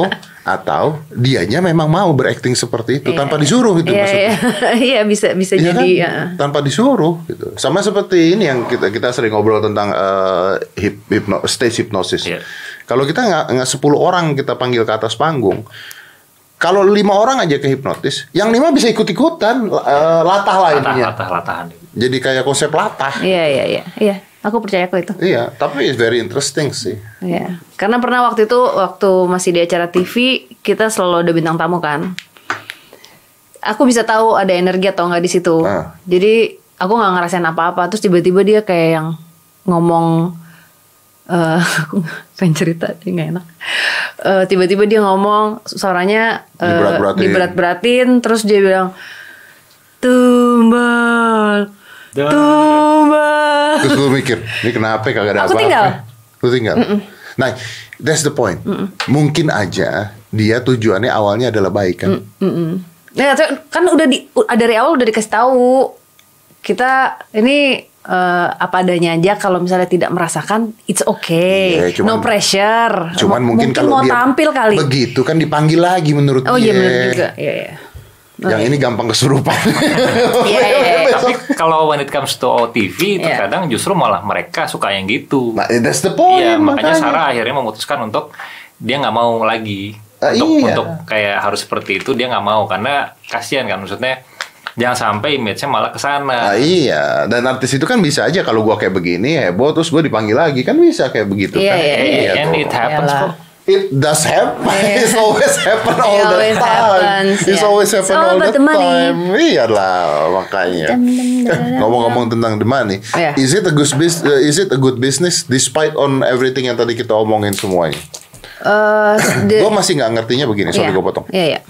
atau dianya memang mau berakting seperti itu tanpa disuruh itu
Iya,
maksudnya.
iya. Iya, bisa bisa
Iya
jadi
kan?
ya.
tanpa disuruh gitu. Sama seperti ini yang kita kita sering ngobrol tentang eh, hip, hipno- stage hypnosis.
Iya.
Kalau kita nggak nggak 10 orang kita panggil ke atas panggung, kalau lima orang aja ke hipnotis, yang lima bisa ikut ikutan latah lah
latah,
intinya.
latah, latahan.
Jadi kayak konsep latah.
Iya iya iya iya. Aku percaya kok itu.
Iya, tapi it's very interesting sih.
Iya. Karena pernah waktu itu waktu masih di acara TV kita selalu ada bintang tamu kan. Aku bisa tahu ada energi atau nggak di situ.
Ah.
Jadi aku nggak ngerasain apa-apa. Terus tiba-tiba dia kayak yang ngomong. eh aku pengen cerita dia nggak enak. Eh, tiba-tiba dia ngomong suaranya eh,
Diberat-beratin.
diberat-beratin. Terus dia bilang tumbal,
Dan-
tumbal.
Terus lu mikir, ini kenapa kagak ada
Aku
apa-apa?
tinggal.
Lu tinggal. Nah, that's the point. Mungkin aja dia tujuannya awalnya adalah baik kan.
Mm-mm. Nah, tuh, kan udah di u- dari awal udah dikasih tahu kita ini eh, apa adanya aja kalau misalnya tidak merasakan it's okay.
Iya, cuman-
no pressure.
Cuman
Mo-
mungkin, kalau
mau
dia
tampil kali.
begitu kan dipanggil lagi menurut
Oh
dia.
iya benar juga. Iya iya.
Yang ini gampang kesurupan.
Iya, iya, iya.
Tapi kalau when it comes to OTV,
Iya.
terkadang justru malah mereka suka yang gitu.
Nah, that's the point.
Iya, makanya Sarah akhirnya memutuskan untuk dia nggak mau lagi
Ah,
untuk
iya.
untuk kayak harus seperti itu dia nggak mau karena kasihan kan maksudnya jangan sampai image-nya malah ke
Nah,
sana.
iya, dan artis itu kan bisa aja kalau gua kayak begini heboh terus gua dipanggil lagi kan bisa kayak begitu
Iya,
kan.
iya, iya.
tuh.
Eh, And it happens
Iyalah.
kok.
It does happen. It's always happen all
It
the
always
time.
happens, iya.
It's
yeah.
always happen
It's all
all,
about
the,
the money.
time. Iya lah makanya. Ngomong-ngomong tentang the money,
Yeah.
is it a good business? Is it a good business despite on everything yang tadi kita omongin semuanya?
Eh, di-
Gue masih nggak ngertinya begini, sorry
iya.
gue potong.
Iya iya.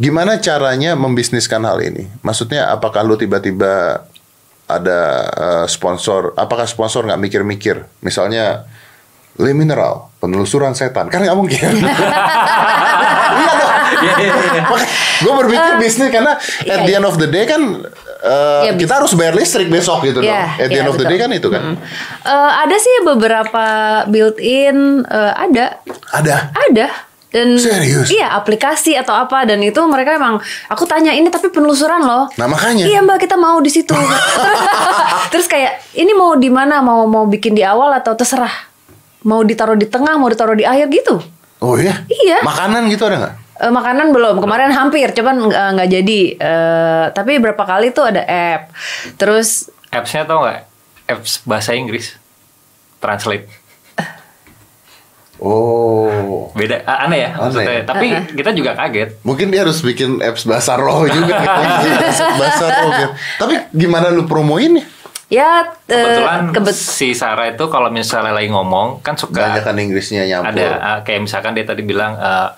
Gimana caranya membisniskan hal ini? Maksudnya apakah lu tiba-tiba ada eh, sponsor? Apakah sponsor nggak mikir-mikir? Misalnya Le Mineral, penelusuran setan. Kan nggak mungkin. Iya gue berpikir bisnis karena at the end of the day kan eh,
Eh, Iya,
kita harus bayar listrik besok gitu
Iya,
dong. At the
iya,
end of the day
betul.
kan itu kan.
Eh, ada sih beberapa built-in eh, ada
Ada.
Ada. Dan
Serius?
Iya, aplikasi atau apa dan itu mereka emang aku tanya ini tapi penelusuran loh.
Nah, makanya.
Iya, Mbak, kita mau di situ. Terus kayak ini mau di mana? Mau mau bikin di awal atau terserah. Mau ditaruh di tengah, mau ditaruh di akhir gitu.
Oh iya?
Iya.
Makanan gitu ada nggak?
Eh, makanan belum kemarin hampir cuman eh, nggak jadi Eh, tapi berapa kali tuh ada app terus
Apps-nya tau nggak? Apps bahasa Inggris. Translate.
Oh.
Beda A- aneh ya maksudnya.
Aneh.
Tapi kita juga kaget.
Mungkin dia harus bikin apps bahasa roh juga gitu. bahasa roh gitu. Tapi gimana lu promoinnya?
Ya eh,
Kebetulan
kebet
si Sarah itu kalau misalnya lagi ngomong kan suka
Banyakan Inggrisnya nyampur.
ada ah, kayak misalkan dia tadi bilang eh,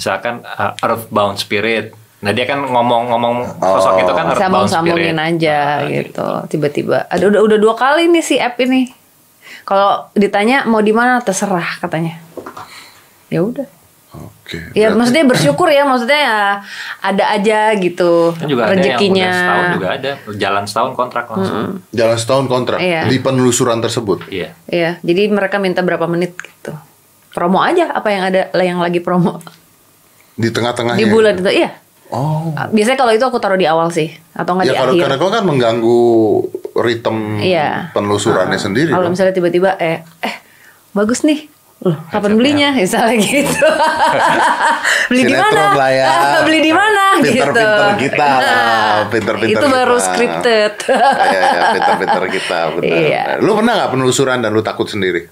misalkan eh, earthbound spirit. Nah dia kan ngomong-ngomong sosok itu kan
Oh.
earthbound spirit. Nah,
sambung-sambungin aja gitu. Tiba-tiba ada udah udah dua kali nih si app ini. Kalau ditanya mau di mana terserah katanya. Ya udah.
Oke.
Ya
berarti-
maksudnya bersyukur ya maksudnya ya ada aja gitu
Kan juga
rezekinya.
ada yang udah setahun juga ada jalan setahun kontrak langsung.
Jalan setahun kontrak
Iya.
di penelusuran tersebut.
Iya.
Iya, jadi mereka minta berapa menit gitu. Promo aja apa yang ada yang lagi promo
Di tengah-tengahnya.
di bulan itu. Iya.
Oh.
Biasanya kalau itu aku taruh di awal sih atau nggak
Ya
di
kalau
akhir.
karena kau kan mengganggu ritme
Iya.
Hmm. penelusurannya sendiri.
Kalau
dong.
misalnya tiba-tiba eh eh bagus nih. Loh, kapan belinya? Misalnya gitu. beli di
Sinetron
mana?
lah ya.
Ah, beli di mana gitu.
Pinter-pinter
Nah,
kita lah, pinter-pinter
Itu baru
kita.
scripted.
Iya, iya, pinter-pinter kita. Benar.
Iya.
Lu pernah nggak penelusuran dan lu takut sendiri?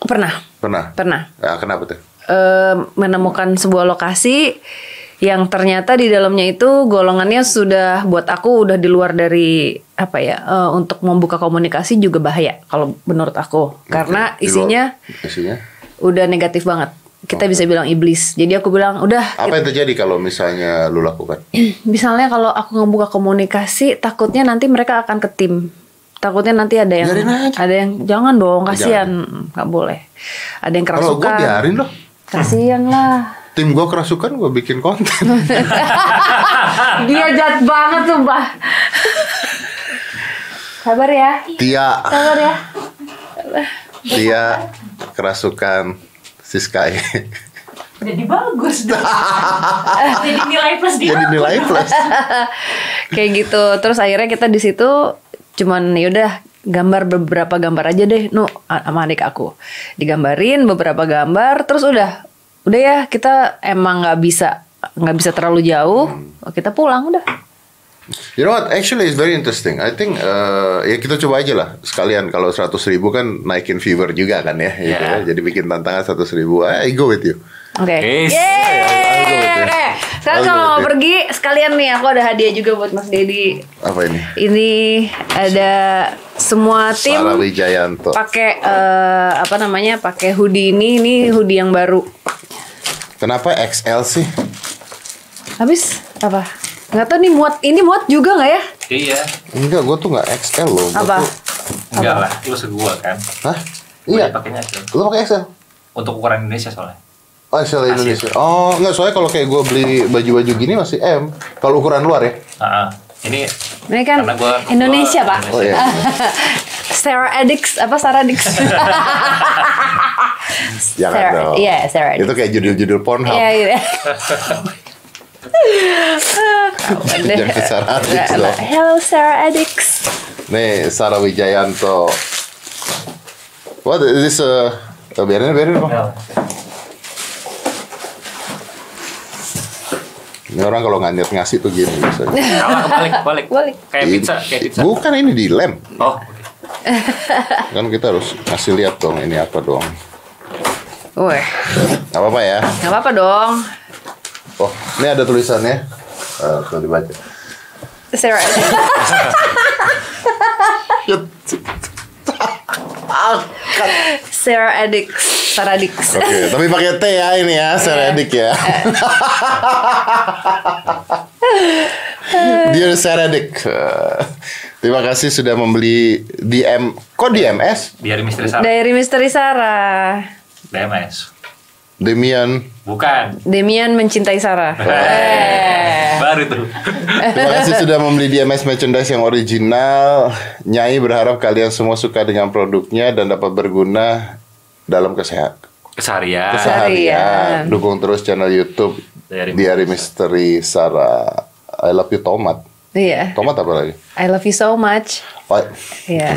Pernah.
Pernah.
Pernah.
Ya, kenapa tuh?
eh, menemukan sebuah lokasi yang ternyata di dalamnya itu golongannya sudah buat aku udah di luar dari apa ya eh, untuk membuka komunikasi juga bahaya kalau menurut aku karena
Di luar-
isinya
isinya
udah negatif banget kita bisa bilang iblis jadi aku bilang udah
apa yang terjadi kalau misalnya lu lakukan?
Iya, misalnya kalau aku ngebuka komunikasi takutnya nanti mereka akan ke tim takutnya nanti ada yang
Biarin aja.
ada yang jangan dong kasihan nggak boleh ada yang
Kalau gue
kerasukan
biarin loh.
kasihan lah
Tim gue kerasukan gue bikin konten.
Dia jahat banget sumpah. Sabar ya.
Tia,
Sabar ya.
Tia kerasukan si Sky.
Jadi bagus dong. Jadi nilai plus dia.
Jadi nilai plus.
Kayak gitu. Terus akhirnya kita di situ cuman yaudah gambar beberapa gambar aja deh nu a- sama adik aku digambarin beberapa gambar terus udah udah ya kita emang nggak bisa nggak bisa terlalu jauh kita pulang udah
You know what? Actually it's very interesting. I think eh, ya kita coba aja lah sekalian kalau 100 ribu kan naikin viewer juga kan ya. gitu ya.
Yeah.
Jadi bikin tantangan 100 ribu. I go with you.
oke
Yes.
Algoritma.
Yeay! oke sekarang kalau mau
Algoritma.
pergi sekalian nih aku ada hadiah juga buat Mas Dedi
Apa ini?
Ini ada semua tim
Sarah Wijayanto.
pakai eh, apa namanya? Pakai hoodie ini, ini hoodie yang baru.
Kenapa XL sih?
Habis apa? Nggak tahu nih muat. Ini muat juga nggak ya?
Iya.
Enggak, gue tuh nggak XL loh. Gua
Apa?
tuh-
Enggak lah, itu segua kan.
Hah?
Gua
Iya.
dipakainya itu.
Lu pakai XL?
Untuk ukuran Indonesia soalnya.
Oh, XL Indonesia. Oh, enggak soalnya kalau kayak gue beli baju-baju gini masih M. Kalau ukuran luar ya.
Ah, ah. ini
Ini kan
Karena gua-
Indonesia, Pak.
gua-
Oh iya.
Sarah Addicts apa Sarah Addicts?
Jangan
Sarah-
dong.
Iya, Sarah Addicts.
Itu kayak judul-judul Pornhub.
Iya, gitu. Kawan deh.
Jangan Sarah Addicts dong.
Hello Sarah Addicts.
gitu. Nih, Sarah Wijayanto. What is this? Uh, oh, biarin, biarin,
Ya.
Bang. Ini orang kalau nggak niat ngasih tuh gini. biasanya.
Salah kebalik, balik.
Balik.
Kayak pizza, kayak pizza.
Bukan ini di lem.
Oh, oke.
Kan kita harus ngasih lihat dong ini apa dong.
Woi,
Gak apa-apa ya.
nggak apa-apa dong.
Oh, ini ada tulisannya. Eh, tuh dibaca.
Sarah Addicts. Sarah Addicts. Sarah Addicts.
Oke, tapi pakai T ya ini ya, Seredik ya. Dear Seredik, eh, terima kasih sudah membeli DM. Kok DMS?
Biar misteri Sarah.
Diary Misteri Sarah.
DMS.
Demian.
Bukan.
Demian mencintai Sarah. Eh.
Baru tuh.
Terima kasih sudah membeli DMS merchandise yang original. Nyai berharap kalian semua suka dengan produknya dan dapat berguna dalam kesehat
Keseharian.
Keseharian.
keseharian. Dukung terus channel YouTube
Diary
Diary Misteri Sarah. I love you tomat.
Iya.
Tomat apa lagi?
I love you so much.
Oh,
Iya.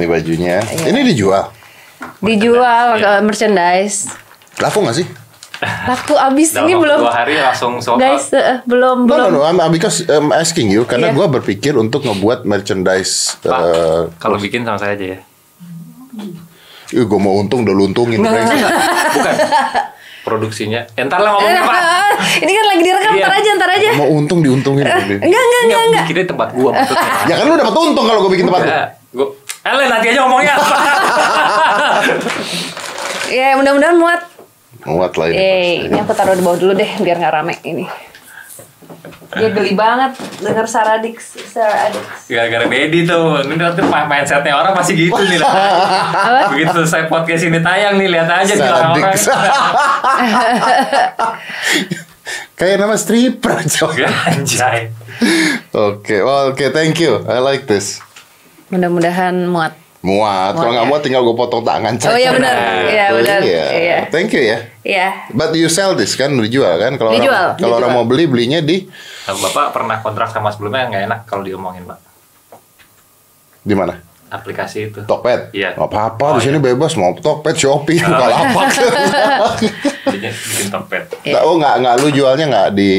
ini bajunya.
Iya.
Ini dijual.
Dijual
Iya.
ke merchandise.
Laku nggak sih?
Laku abis
Dalam
ini
waktu
belum
dua hari langsung sold out.
guys eh, belum
No, no,
belum.
no. I'm, I'm because I'm asking you karena
Iya.
gua berpikir untuk ngebuat merchandise.
Pak,
eh
kalau bikin sama saya aja ya.
Nah.
ih, gua mau untung udah luntungin. Frank.
Bukan. produksinya. Eh, ntar lah ngomong Pak.
Ini kan lagi direkam,
Iya.
ntar aja, ntar aja.
Mau untung diuntungin.
Enggak, enggak, enggak, enggak.
Bikinnya tempat gua maksudnya.
ya kan lu dapat untung kalau gue bikin tempat lu.
Iya.
Ya, gua Ale nanti aja ngomongnya.
Ya, mudah-mudahan muat.
Muat lah ini.
Yeay, Eh, ini aku taruh di bawah dulu deh biar nggak rame ini. Dia geli banget denger Saradix, Saradix.
Gara-gara Dedi tuh. Ini nanti ma- mindsetnya orang pasti gitu nih. lihat aja. Begitu selesai podcast ini tayang nih lihat aja nih orang-orang.
Sadik. Kayak nama stripper
Iya.
coy.
Anjay.
Oke, well, oke, thank you. I like this.
Mudah-mudahan muat.
Muat. Kalau
Muat,
nggak
ya.
muat tinggal gue potong tangan.
Oh
Cak.
iya benar, iya
Oh,
benar,
iya.
iya.
Thank you ya.
Iya.
But you sell this kan, dijual kan? Kalau
Dijual,
orang kalau orang
dijual.
mau beli belinya di
Nah, Bapak pernah kontrak sama sebelumnya nggak enak kalau diomongin Pak.
di mana?
Aplikasi itu.
Tokped.
Iya.
Nggak apa-apa di sini bebas mau Tokped, Shopee,
Oh.
Bukalapak.
Iya.
Bikin, bikin Tokped.
Nggak, oh nggak nggak lu jualnya nggak di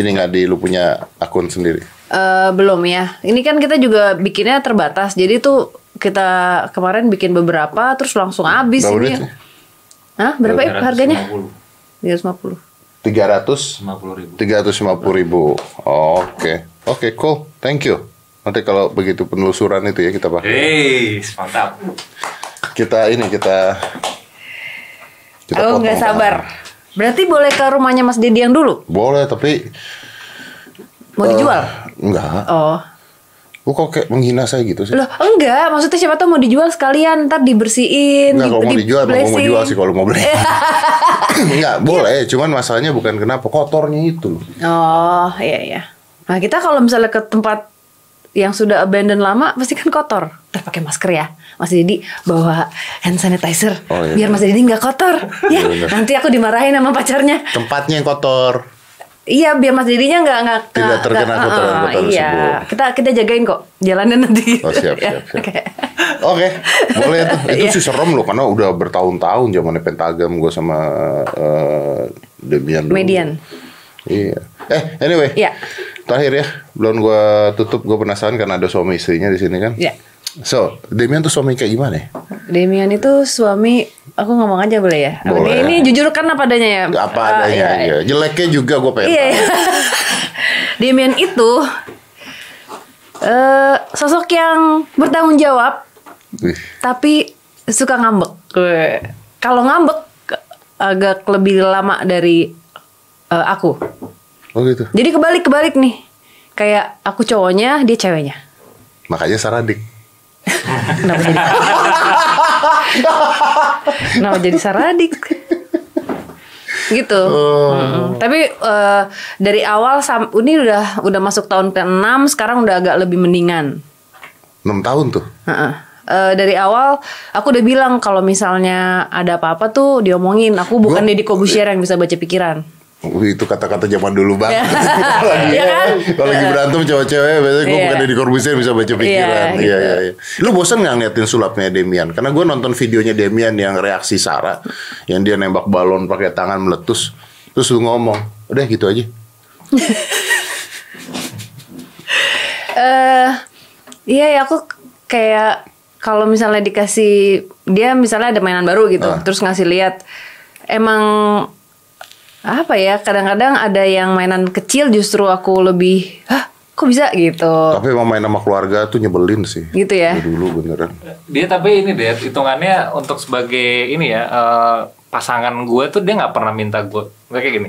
ini nggak di lu punya akun sendiri.
Eh, belum ya. Ini kan kita juga bikinnya terbatas. Jadi tuh kita kemarin bikin beberapa terus langsung habis
Berapa
ini.
duit sih?
Hah, berapa ya harganya?
350
350.
Tiga ratus
50 ribu.
tiga ratus lima puluh ribu. Oh, Oke, oke, cool. Thank you. Nanti kalau begitu penelusuran itu ya kita
Eh.
pakai.
Hei, mantap.
Kita ini kita. kita
Aku Oh, nggak
potong
sabar.
tangan.
Berarti boleh ke rumahnya Mas Dedi yang dulu?
Boleh tapi Eh.
Mau dijual?
enggak.
Oh.
Lu kok kayak menghina saya gitu sih?
Loh, enggak. Maksudnya siapa tahu mau dijual sekalian, ntar dibersihin,
Enggak,
di-
kalau mau
di
dijual, emang gua mau
blessing.
jual sih kalau mau beli. Iya. Enggak, boleh. Cuman masalahnya bukan kenapa kotornya itu.
Oh, iya iya. Nah, kita kalau misalnya ke tempat yang sudah abandon lama pasti kan kotor. Ntar pakai masker ya. Mas Dedi bawa hand sanitizer
Oh, iya.
biar Mas Dedi nggak kotor. ya,
bener.
nanti aku dimarahin sama pacarnya.
Tempatnya yang kotor.
Iya, biar Mas Dedinya nggak nggak
Tidak
nggak-
terkena
nggak-
kotoran-kotoran
Iya,
tersebut.
kita kita jagain kok jalannya nanti.
Oh, siap,
Ya,
siap, siap.
oke.
Oke, boleh tuh. Itu
Iya.
sih serem loh karena udah bertahun-tahun zamannya Pentagram gue sama eh, Debian dulu.
Median.
Iya. Eh, anyway.
Iya.
Terakhir ya, belum gue tutup gue penasaran karena ada suami istrinya di sini kan.
Iya.
So, Demian tuh suami kayak gimana ya?
Demian itu suami aku ngomong aja boleh ya? Apa
Boleh.
dia- Ini jujur kan apa adanya ya?
Apa
Ah,
adanya
iya, iya.
ya. Jeleknya juga gue pengen
Iya.
tahu.
iya. Demian itu eh sosok yang bertanggung jawab
Wih,
tapi suka ngambek. Gue- Kalau ngambek agak lebih lama dari eh, aku.
Oh gitu.
Jadi kebalik-kebalik nih. Kayak aku cowoknya, dia ceweknya.
Makanya Saradik.
Kenapa jadi Kenapa jadi saradik? gitu. Mm-mm. Tapi eh, dari awal sam ini udah udah masuk tahun ke-6, sekarang udah agak lebih mendingan.
6 tahun tuh.
Heeh. Eh, dari awal aku udah bilang kalau misalnya ada apa-apa tuh diomongin. Aku bukan
Gua-
Deddy Kobusier yang bisa baca pikiran.
Wih, itu kata-kata zaman dulu banget. Kalau lagi,
Iya kan?
kalau lagi berantem cowok-cewek biasanya gue
Iya.
bukan Deddy Corbuzier bisa baca pikiran.
Iya, gitu.
Iya, iya, iya. Lu bosan nggak ngeliatin sulapnya Demian? Karena gue nonton videonya Demian yang reaksi Sarah, yang dia nembak balon pakai tangan meletus, terus lu ngomong, udah gitu aja.
Eh, iya ya aku kayak kalau misalnya dikasih dia misalnya ada mainan baru gitu,
Ah.
terus ngasih lihat emang apa ya? Kadang-kadang ada yang mainan kecil justru aku lebih, hah, kok bisa gitu,
Tapi emang main sama keluarga tuh nyebelin sih.
gitu ya?
Dulu beneran.
Dia tapi ini deh hitungannya untuk sebagai ini ya eh, pasangan gue tuh dia nggak pernah minta gue Nggak kayak gini.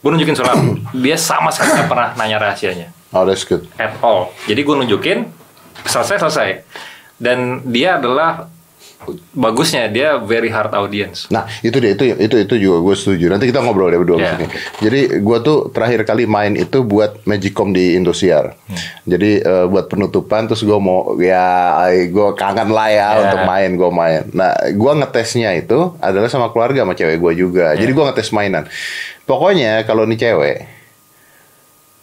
Gue nunjukin surat, dia sama sekali nggak pernah nanya rahasianya
Oh, that's good.
at all. Jadi gue nunjukin selesai selesai. Dan dia adalah bagusnya dia very hard audience.
Nah, itu dia itu itu itu juga gue setuju. Nanti kita ngobrol deh berdua
Iya.
maksudnya. Jadi gue tuh terakhir kali main itu buat Magicom di Indosiar.
Hmm.
Jadi eh, buat penutupan terus gue mau ya gue kangen lah ya
Iya.
untuk main gue main. Nah, gue ngetesnya itu adalah sama keluarga sama cewek gue juga.
Iya.
Jadi gue ngetes mainan. Pokoknya kalau nih cewek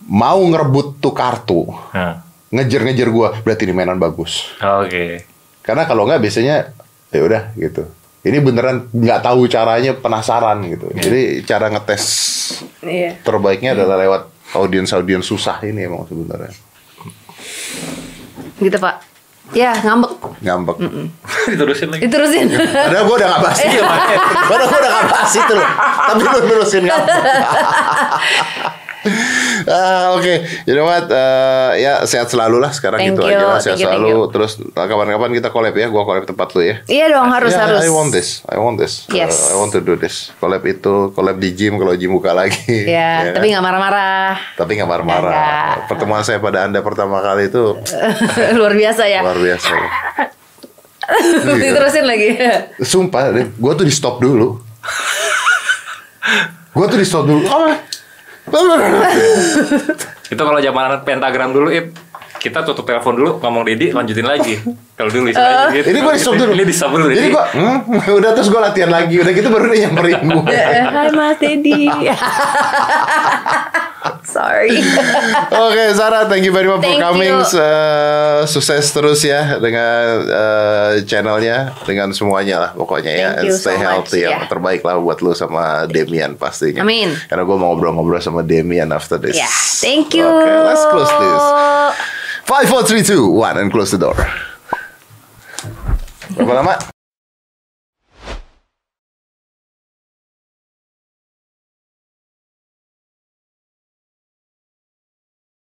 mau ngerebut tuh kartu,
Nah,
ngejer-ngejer gue berarti ini mainan bagus.
Oke.
Karena kalau nggak biasanya ya udah gitu. Ini beneran nggak tahu caranya penasaran gitu. Jadi cara ngetes Oh.
Iya.
terbaiknya adalah lewat audiens audiens susah ini emang sebenarnya.
Gitu pak? Ya ngambek.
Ngambek.
diterusin lagi.
Diterusin.
Padahal gue udah gak bahas
Iya,
itu. Padahal gue udah gak bahas itu loh. Tapi lu nerusin kan. Ah, Oke, you know what? Eh, ya sehat selalu lah sekarang
Thank
gitu
you,
aja lah. Sehat
thank you, thank
selalu. Terus kapan-kapan kita collab ya. Gua collab tempat lu ya.
iya dong harus
Yeah,
harus.
I want this. I want this.
Yes.
Uh, I want to do this. Collab itu, collab di gym kalau gym buka lagi.
Ya,
Ya
tapi
kan?
nggak marah-marah.
tapi nggak marah-marah.
Nggak.
Pertemuan saya pada anda pertama kali itu
Luar biasa ya.
luar biasa.
Diterusin lagi.
Sumpah, gue tuh di stop dulu. gue tuh di stop dulu. Apa?
Itu kalau zaman pentagram dulu it kita tutup telepon dulu ngomong Dedi lanjutin lagi. Kalau dulu istilahnya gitu.
Eh, Ini gue di stop dulu.
Ini di stop dulu. ya?
Jadi
Dedi.
gue hmm, udah terus gue latihan lagi. Udah gitu baru dia nyamperin gue.
Eh, Hai Mas Dedi. Sorry.
Oke Sarah, thank you very much
Thank
for coming.
you.
Se- sukses terus ya dengan eh, channelnya, dengan semuanya lah pokoknya ya.
Thank you so
stay
much,
healthy, yang
ya.
terbaik lah buat lu sama Demian pastinya.
Amin.
Karena gue mau ngobrol-ngobrol sama Demian after this.
Yeah, thank you.
Oke, let's close this. Five, four, three, two, one, and close the door. Berapa lama?